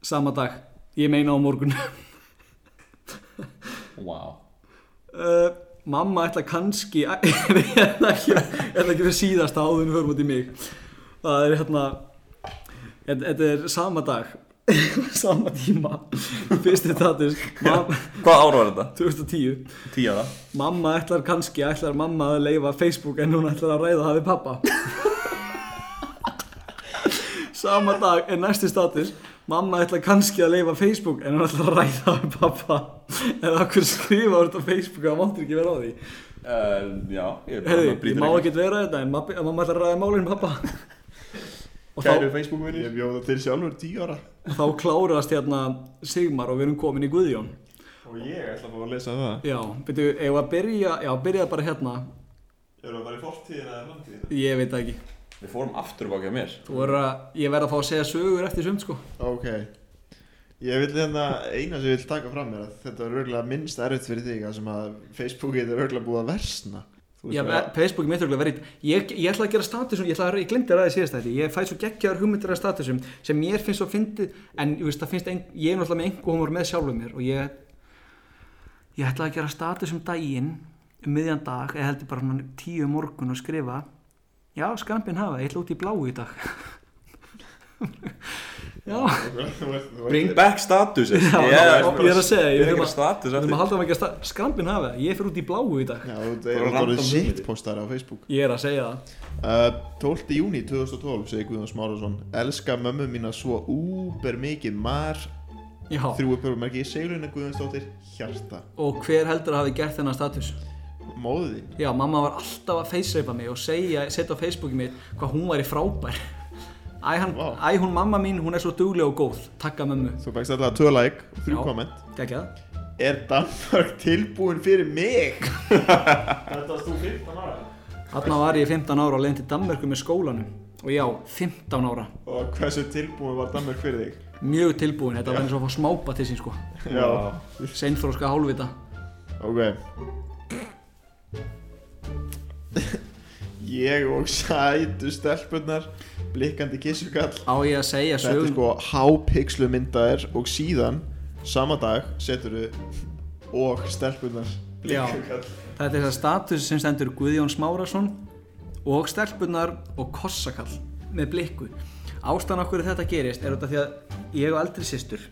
Speaker 4: sama dag, ég meina á morgun
Speaker 2: Wow
Speaker 4: uh, mamma ætla kannski ég ætla ekki ég ætla ekki fyrir síðasta áður en við förum út í mig það er hérna þetta- þetta er sama dag sama tíma fyrsti tatus mamma,
Speaker 2: Hvað ára var þetta?
Speaker 4: 2010
Speaker 2: 10 ára
Speaker 4: mamma ætlar kannski ætlar mamma að leifa Facebook en hún ætlar að ræða það við pappa sama dag er næsti status mamma ætlar kannski að leifa Facebook en hún ætlar að ræða það við pappa eða okkur skrifa úr þetta á Facebook það máttur ekki vera á því
Speaker 2: uh, Já, ég er
Speaker 4: Herri,
Speaker 2: að
Speaker 4: ég
Speaker 2: brýta
Speaker 4: má
Speaker 2: reglur.
Speaker 4: ekkert vera þetta en mamma, mamma ætlar að ræða málinn pappa og
Speaker 2: Kæru
Speaker 4: þá,
Speaker 2: Facebook vinir
Speaker 3: Ég bjóða til sjálfur tíu ára
Speaker 4: þá klárast hérna Sigmar og við erum komin í Guðjón
Speaker 3: Og ég ætla bara að lesa það
Speaker 4: já, veitu, ef að byrja já, byrjaði bara hérna,
Speaker 3: Erum við bara í fortíðina eða framtíðina?
Speaker 4: ég veit það ekki
Speaker 2: Við fórum aftur baki á mér
Speaker 4: þú er að, ég verð að fá að segja sögur eftir sumt sko
Speaker 3: Ok Ég vil hérna, eina sem ég vil taka fram er að þetta er örgulega minnst erfitt fyrir þig að sem að Facebookið er örgulega búið að versna Þú veist
Speaker 4: Já, eh,
Speaker 3: bara-
Speaker 4: Facebook er mitt örugglega verið ég, ég ætla að gera statusum, ég, ætla að, ég glemdi að ræða síðast þetta ég fæ svo geggjaðar hugmyndir að statusum sem mér finnst svo fyndið en ég, veist, það finnst ein, ég er náttúrulega með einhver humor með sjálfum mér og ég ég ætla að gera statusum daginn um miðjan dag, eða heldur bara svona tíu um morgun og skrifa já, skrampin hafa, ég ætla út í bláu í dag já,
Speaker 3: Þú veist, þú
Speaker 4: Bring
Speaker 3: veist
Speaker 2: Back status Ég
Speaker 4: já ég er að segja
Speaker 2: Ég
Speaker 4: ég
Speaker 2: er
Speaker 4: þurfum
Speaker 2: ekki
Speaker 4: að,
Speaker 2: status
Speaker 4: við
Speaker 2: eftir
Speaker 4: þurfum að halda mig ekki að sta- skrampin hafa, ég fyrir út í bláu í dag
Speaker 3: Já, þú
Speaker 2: Bara
Speaker 3: er
Speaker 2: random
Speaker 3: orðið
Speaker 2: hugmyndir.
Speaker 3: sitt postar á Facebook
Speaker 4: ég er að segja það
Speaker 3: Uh, 12. júni 2012 segir Guðjón Smárasson Elska mömmu mína svo úber mikið mar
Speaker 4: já.
Speaker 3: Þrjú uppjörumerki Segluna Guðjónsdóttir Hjarta
Speaker 4: Og hver heldur að hafi gert þennan status?
Speaker 3: Móðin
Speaker 4: Já, mamma var alltaf að facereipa mig og segja, setja á Facebooki mitt hvað hún væri frábær. Æ, hann,
Speaker 3: Vá.
Speaker 4: æ, hún mamma mín, hún er svo dugleg og góð Takka mömmu
Speaker 3: Þú fækst alltaf tvö like og þrjú
Speaker 4: Já.
Speaker 3: komment
Speaker 4: Gekkjað
Speaker 3: Er Danmark tilbúin fyrir mig? Þetta varst þú 15 ára
Speaker 4: Þarna var ég 15 ára og leiðin til Danmörku með skólanum Og já, 15 ára
Speaker 3: Og hversu tilbúin var Danmark fyrir þig?
Speaker 4: Mjög tilbúin, þetta var eins og að fá smápa til sín sko
Speaker 3: Já
Speaker 4: Seinþróska hálfvita
Speaker 3: Ok Ég og sætu stelpunnar Blikkandi kissugall
Speaker 4: Á ég að segja
Speaker 3: Þetta er
Speaker 4: sögun
Speaker 3: sko hápixlu myndaðir Og síðan, sama dag, setur við Og stelpunnar
Speaker 4: Já.
Speaker 3: Blikkugall
Speaker 4: Þetta er það status sem stendur Guðjón Smárasson og stelpunar og kossakall með blikku. Ástæðan okkur þetta gerist er þetta því að ég og eldri sýstur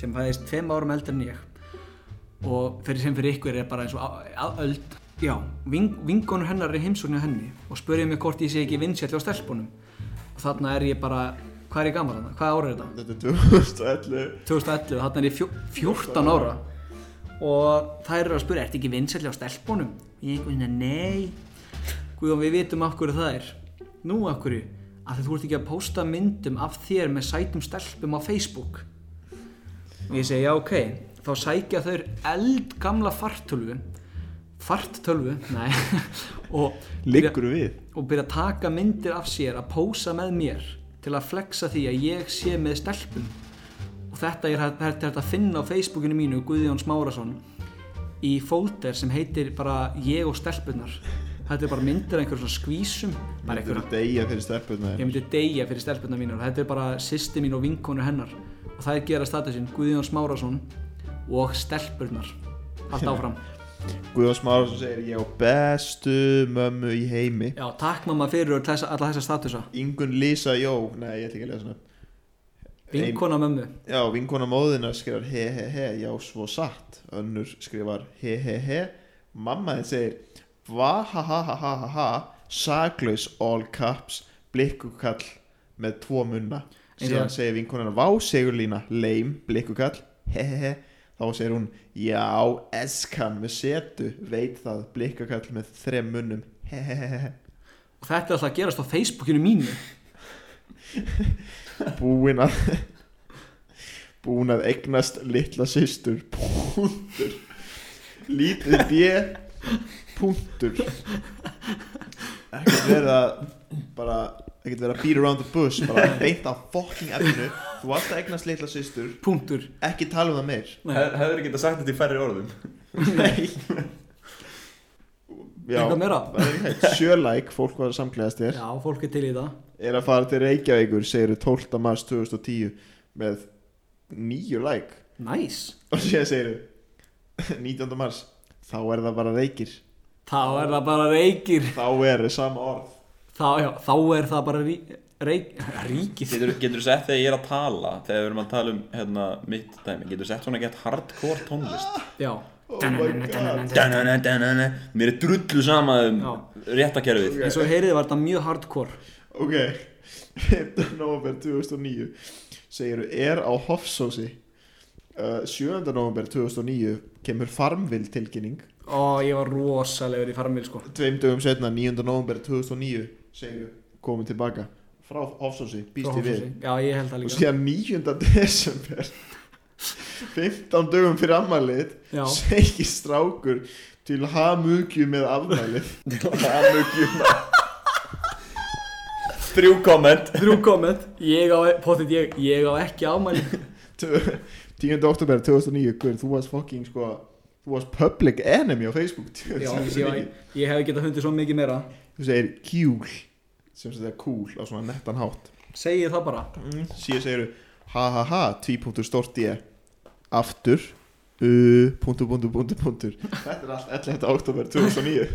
Speaker 4: sem fæðist tveim árum eldri en ég og fyrir sem fyrir ykkur er bara eins og á- á- öld. Já, ving, vingonur hennar er heimsóknir henni og spurði mig hvort ég sé ekki vinsjalli á stelpunum og þarna er ég bara, hvað er ég gammal þarna? Hvað ára er þetta?
Speaker 3: Þetta er 2011
Speaker 4: 2011, þarna er ég fjó, 14 ára og þær eru að spura, ertu ekki vinsætli á stelpunum? Ég einhvern veginn, nei Guðjón, við vitum af hverju það er Nú af hverju? Af því þú ert ekki að posta myndum af þér með sætum stelpum á Facebook og ég segi, já ok þá sækja þau eldgamla fartölvu farttölvu, nei og
Speaker 3: Liggur við
Speaker 4: og byrja að taka myndir af sér að pósa með mér til að flexa því að ég sé með stelpum og þetta er hægt- hægt hægt að finna á Facebookinu mínu Guðjón Smárasson í folder sem heitir bara ég og stelpunar þetta er bara myndir af einhverjum svona skvísum bara
Speaker 3: Þetta
Speaker 4: einhverjum
Speaker 3: er degja fyrir stelpunnar
Speaker 4: ég myndi deyja fyrir stelpunna mínar þetta er bara sýsti mín og vinkonu hennar og það er gera statusinn Guðjón Smárasson og stelpunnar allt áfram
Speaker 3: Guðjón Smárasson segir Ég á bestu mömmu í heimi
Speaker 4: já, takk mamma fyrir öll þessa- alla þessa statusa
Speaker 3: Ingun Lísa Jó Nei, ég ætla ekki að lesa hana
Speaker 4: vinkona mömmu
Speaker 3: Já, vinkona móðina skrifar he he he, já svo satt Önnur skrifar he he he Mamma þinn segir va ha ha ha ha ha ha Saklaus all caps Blikkukall með tvo munna
Speaker 4: Eins og-
Speaker 3: Síðan segir vinkonan Vá segurlína, leim, blikkukall He he he Þá segir hún Já, eskan með setu Veit það, blikkukall með þrem munnum He he he he he
Speaker 4: og þetta er alltaf að gerast á Facebookinu mínu
Speaker 3: Búin að Búin að eignast litla systur Púntur Lítið B Púntur Ekkert verið að Bara Ekkert verið að beat around the bush Bara beint á fucking efnu Þú varst að eignast litla systur
Speaker 4: punktur
Speaker 3: Ekki tala um það meir
Speaker 2: Hef, hefur ekki sagt þetta í færri orðum
Speaker 3: Nei Já
Speaker 4: Eitthvað meira?
Speaker 3: Það er ekki hægt Sjölæk Fólk var að samklæðast þér
Speaker 4: já, fólk er til í það
Speaker 3: er að fara til Reykjavíkur segir 12. mars 2010 með nýju læk
Speaker 4: næs, nice.
Speaker 3: og sér segir 19. mars þá er það bara reykir
Speaker 4: þá er það bara reykir
Speaker 3: þá er það sama orð
Speaker 4: þá, já, þá er það bara rí, reik, ríkið
Speaker 2: Getur, getur sett þegar ég er að tala Þegar við erum að tala um hérna, mitt dæmi Getur sett svona gett hardcore tónlist
Speaker 4: já,
Speaker 3: oh my god
Speaker 2: Danana, danana. Mér er drullu sama um réttakerfið
Speaker 4: eins og heyrið var þetta mjög hardcore
Speaker 3: ok 15. november 2009 segir er á Hofsósi uh, 7. november 2009 kemur farmvill tilkynning
Speaker 4: ó, ég var rosalegur í farmil sko
Speaker 3: tveim dögum setna 9. november 2009 segir komið tilbaka frá Hofsósi býst ég við
Speaker 4: já, ég held það
Speaker 3: og
Speaker 4: líka
Speaker 3: síðan 9. desember 15 dögum fyrir afmælið
Speaker 4: Já.
Speaker 3: segir strákur til hamugju með afmælið
Speaker 2: Hamugjuna Þrjú komment
Speaker 4: þrjú komment, ég á, potið ég ég á ekki ámæli
Speaker 3: 10. oktober 2009 Guður, þú varst fucking sko þú varst public enemy á Facebook
Speaker 4: já,
Speaker 3: Þú
Speaker 4: ég, ég, ég hef getað hundið svo mikið meira
Speaker 3: þú segir kjúl sem þetta er cool á svona nettan hátt
Speaker 4: segið það bara
Speaker 3: síðan segir ha ha ha tvípunktur stort ég aftur uh, punktur, punktur, punktur, punktur þetta er allt 11. oktober 2009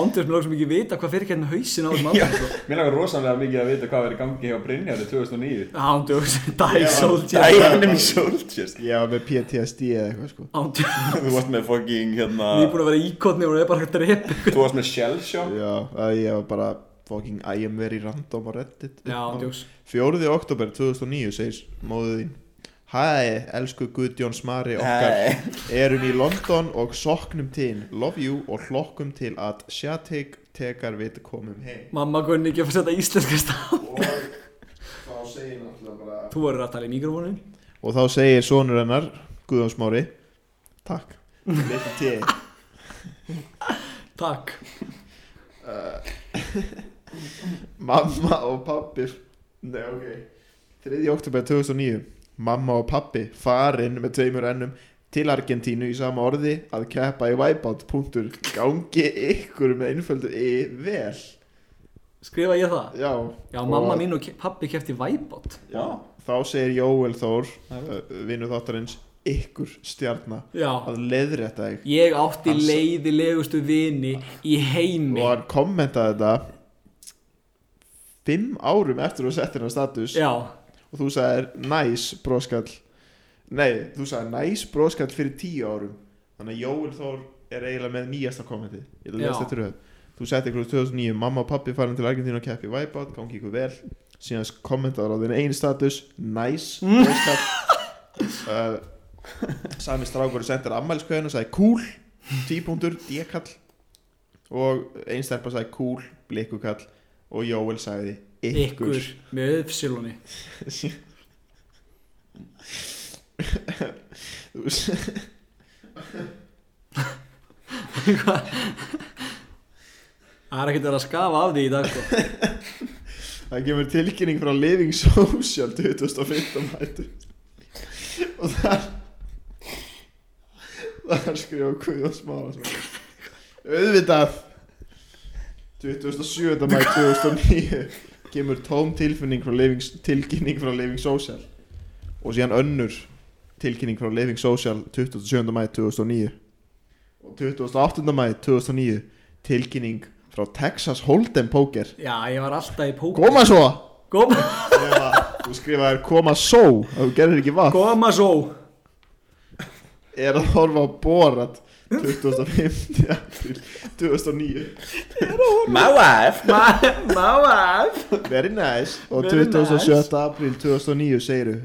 Speaker 4: ándur sem lögur sem ekki vita hvað fyrir hérna hausin á þessum
Speaker 2: Já.
Speaker 4: ándur
Speaker 2: Mér langar rosalega mikið að vita hvað verið gangi hjá Brynjarði 2009
Speaker 4: ándur, die soldier
Speaker 2: Dæjanum í Soldiers
Speaker 3: ég var með PTSD eða eitthvað sko
Speaker 4: ándur
Speaker 2: Þú varst með fucking hérna
Speaker 4: Við erum búin að vera íkotni og það er bara að drepa ykkur.
Speaker 2: Þú varst með Shellshock
Speaker 3: Já, að ég var bara fucking I am very random á reddit
Speaker 4: Já, djóks.
Speaker 3: 4. oktober 2009 segir móðu þín Hæ, elsku Guðjón Smari okkar
Speaker 2: Hey.
Speaker 3: Erum í London og soknum til Love you og hlokkum til að Sjatig tekar við komum heim
Speaker 4: Mamma kunni ekki að fara að setja íslenska stafn.
Speaker 3: Og segir náttúrulega bara
Speaker 4: Þú verður að tala í mikrofónin
Speaker 3: Og þá segir sonur hennar, Guðjón Smári Takk Little T
Speaker 4: Takk
Speaker 3: Eh, Mamma og pappi Nei, ok 3. oktober 2009 Mamma og pappi farin með tveimur ennum til Argentínu í sama orði að keppa í Wipeout punktur gangi ykkur með einföldu í vel
Speaker 4: Skrifa ég það?
Speaker 3: Já,
Speaker 4: Já,
Speaker 3: og
Speaker 4: mamma mín og ke- pabbi kefti væbót
Speaker 2: Já,
Speaker 3: Þá segir Jóel Þór vinnu þáttarins ykkur stjarna
Speaker 4: Já
Speaker 3: að leiðrétta þig
Speaker 4: Ég átti
Speaker 3: Hann sa-
Speaker 4: leiðilegustu vini í heimi
Speaker 3: og hann kommentaði þetta fimm árum eftir að þú settir hann status
Speaker 4: Já,
Speaker 3: og þú sagðir næs broskall nei, þú sagðir næs broskall fyrir tíu árum þannig að Jóel Þór er eiginlega með nýjasta kommenti ég ætla að lesa
Speaker 4: Já.
Speaker 3: þetta röð þú setti ykkur úr 2009, mamma og pappi farin til Argentínu og keppi í Wipeout, gangi ykkur vel síðan kommentaður á þinn einn status næs
Speaker 4: Mm.
Speaker 3: broskall uh, sami strákur sendir ammælskveðin og sagði cool típunktur, d-kall og einn stelpa sagði cool, blikkukall og Jóel sagði
Speaker 4: ykkur,
Speaker 3: ykkur.
Speaker 4: með uppsilunni
Speaker 3: Þú
Speaker 4: Það er ekkert verið að skafa af því í dag sko.
Speaker 3: Það kemur tilkynning frá Living Social 2015 mætu og þar þar skrifa Guðjón Smára svona. auðvitað 2007. mæ 2009 kemur tóm tilfinning frá Living, tilkynning frá Living Social og síðan önnur tilkynning frá Living Social 27. mæ 2009 og 28. mæ 2009 tilkynning frá Texas Hold'em Poker
Speaker 4: Já, ég var alltaf í pók
Speaker 3: Koma svo
Speaker 4: Koma,
Speaker 3: Skrifa- Þú skrifaðir koma svo að Þú gerir ekki vatn
Speaker 4: koma svo
Speaker 3: Er að horfa á borat 25. apríl 2009
Speaker 2: my wife
Speaker 4: Ma- Mamma
Speaker 3: Very nice Og
Speaker 4: Very
Speaker 3: 27. apríl 2009 segiru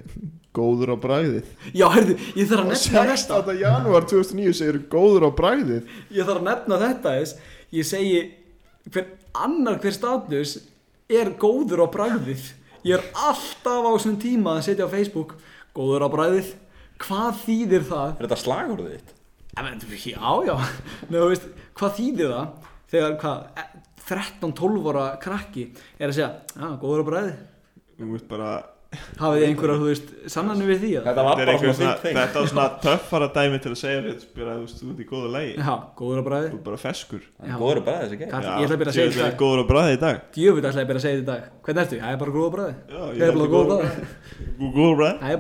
Speaker 3: Góður á bragðið
Speaker 4: Já, heyrðu, ég þarf að
Speaker 3: Og
Speaker 4: nefna þetta
Speaker 3: 16. janúar 2009 segiru Góður á bragðið
Speaker 4: Ég þarf að nefna þetta þess Ég segi hver annar hver status er góður á bragðið Ég er alltaf á þessum tíma að setja á Facebook Góður á bragðið Hvað þýðir það?
Speaker 2: Er þetta slagurðið þitt?
Speaker 4: Ja, menn, Já, já Nei, þú veist, Hvað þýðir það? Þegar hvað, eh, 13-12 ára krakki er að segja, já, góður á bræði
Speaker 3: Þú veist bara
Speaker 4: Hafið þið einhverjar, þú veist, sannanum við því að
Speaker 2: Þetta var bara svona þitt þing
Speaker 3: Þetta var svona töffara dæmi til að segja Þú veist, þú ert í góðu lægi
Speaker 4: Já, góður á bræði
Speaker 3: bara feskur
Speaker 4: Já.
Speaker 2: Góður að bræða þessi ekki
Speaker 4: Karl, ég ætla að byrja að segja þetta í dag
Speaker 3: Góður á bragðið í dag
Speaker 4: Djöfitt ætla ég að byrja að segja þetta í dag Hvernig ertu? Já, ég er bara góð á bræði
Speaker 3: Já, ég
Speaker 4: Ég er bara
Speaker 3: er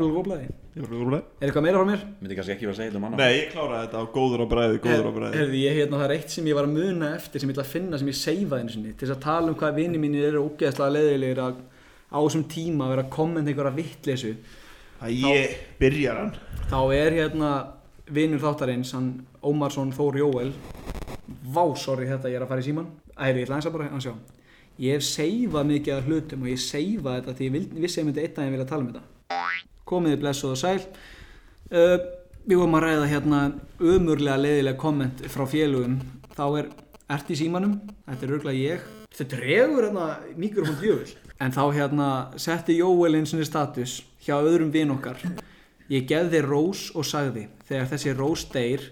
Speaker 3: góður á Góður á bragðið Ég er bara góður
Speaker 4: góð á bræði Já, ég er bara góð á bræði Er
Speaker 3: á bragðið
Speaker 4: eitthvað meira frá mér?
Speaker 2: Myndi kannski ekki vera að segja þetta um annan
Speaker 3: Nei, ég kláraði þetta á góður á bræði, góður á bræði
Speaker 4: Herði, ég hérna, það er eitt sem ég var að muna eftir sem ég ætla að finna sem ég seifa einu sinni til þess að tala um hvað vini mínir eru ógeðslega leðilegir að á þessum tíma að vera að kommenta einhverja vitleysu
Speaker 3: Æ, byrjar hann
Speaker 4: þá er hérna vinur þáttarins, hann Ómarsson Þór Jóel vá, sorry þetta, ég er að fara í síman æri, ég ætla eins að bara að sjá ég hef seifað mikið af hlutum og ég seifa þetta því ég vildi- vissi að ég myndi einn daginn vilja tala um þetta komiði blessuð og sæl uh, við vorum að ræða hérna umurlega leiðilega komment frá félugum þá er, ert í símanum þetta er örglega ég þetta dregur hérna mikrofón djöful en þá hérna setti Jóel eins og status hjá öðrum vin okkar Ég gefði þér rós og sagði, þegar þessi rós deyr,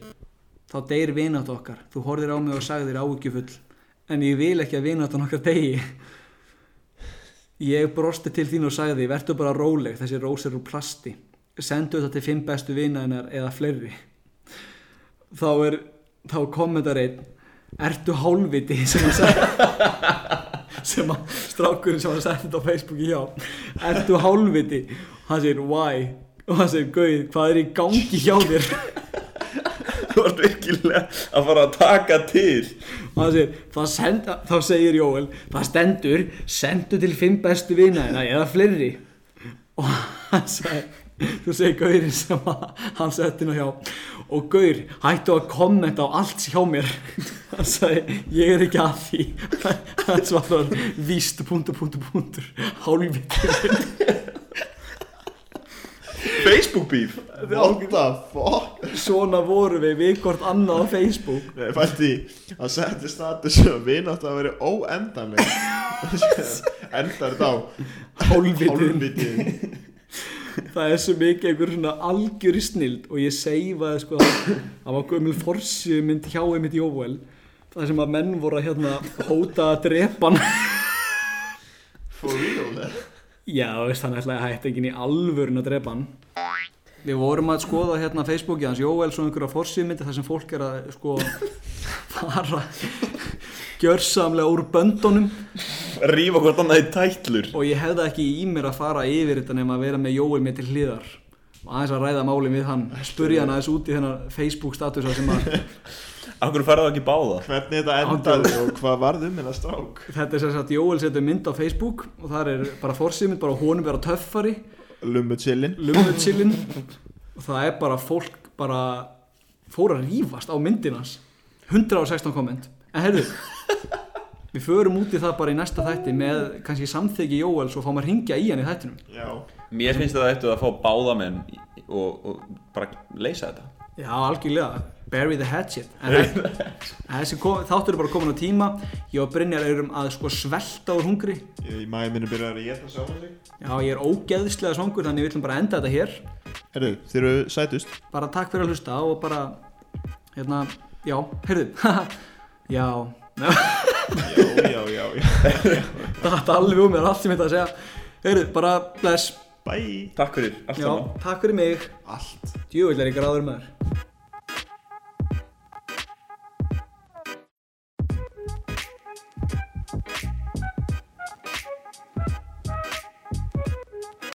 Speaker 4: þá deyr vinátt okkar. Þú horfir á mig og sagðir áhyggjufull, en ég vil ekki að vináttan okkar degi. Ég brosti til þín og sagði, vertu bara róleg, þessi rós er úr plasti. Sendu þetta til fimm bestu vinaðinar eða fleiri. Þá er, þá kommentar einn, ertu hálfviti sem hann sagði sem að strákurinn sem var að setja þetta á Facebooki hjá ertu hálfviti og hann segir why og hann segir gauð hvað er í gangi hjá þér
Speaker 2: Þú ert virkilega að fara að taka til
Speaker 4: og hann segir "Það send, þá segir Jóel það stendur sendu til fimm bestu vinaðina eða fleiri og hann segir þú segir gaurinn sem að, hann setti nú hjá og gaur hættu að kommenta á allt hjá mér hann sagði ég er ekki að því hann svarar víst punktur punktur punktur hálfviti
Speaker 2: Facebook beef
Speaker 3: What the fuck
Speaker 4: Svona vorum við við hvort annað á Facebook
Speaker 3: Nei, Fælt í að setja status að vinátt að vera óendanleg Endar þetta á
Speaker 4: Hálfvitið
Speaker 3: Hálfvitið
Speaker 4: Það er svo mikið einhver svona algjöri snild og ég seifaði sko það var gömul forsið mynd hjá einmitt Jóel það sem að menn voru að hérna hóta að drepa hann
Speaker 3: For real eh?
Speaker 4: Já, þú veist, hann ætlaði að hætta enginn í alvörun að drepa hann. Við vorum að skoða hérna Facebookið hans Jóel svo einhverja forsýðmyndi þar sem fólk er að sko fara gjörsamlega úr böndunum
Speaker 2: Rífa hvort annað í tætlur
Speaker 4: og ég hefði ekki í mér að fara yfir þetta nema að vera með Jóel mér til hliðar og aðeins að ræða málin við hann spurja hann aðeins út í þennan Facebook statusa sem að
Speaker 2: Akkur færðu ekki báða
Speaker 3: Hvernig þetta endaði og hvað varð um hérna strák
Speaker 4: þetta er sem sagt Jóel setur mynd á Facebook og þar er bara forsýðmynd bara honum vera töffari
Speaker 3: Lummu chillin
Speaker 4: lummuchillin og það er bara fólk bara fór að rífast á myndin hans 116 komment en herðu við förum út í það bara í næsta þætti með kannski samþyggi Jóel svo fáum að ringja í hann í þættinum
Speaker 3: Já
Speaker 2: Mér finnst þetta eftir að fá báða menn í- og, og bara leysa þetta
Speaker 4: já algjörlega bury the hatchet en það- en þessi ko- þáttur er bara komin á tíma ég og Brynjar erum að sko svelta úr hungri
Speaker 3: Í maður minni byrjar að geta sjá mig
Speaker 4: já ég er ógeðslega svangur þannig við ætlum bara að enda þetta hér
Speaker 3: Herru, þeir eru sætust
Speaker 4: bara takk fyrir að hlusta og bara hérna, já, heyrðu já,
Speaker 3: Já, já, já, já
Speaker 4: þetta alveg um mér allt sem ég ætla að segja heyrðu, bara bless
Speaker 3: Bye
Speaker 2: Takk fyrir, allt
Speaker 4: já,
Speaker 2: saman
Speaker 4: takk fyrir mig
Speaker 3: Allt
Speaker 4: djúvill er ég gráður maður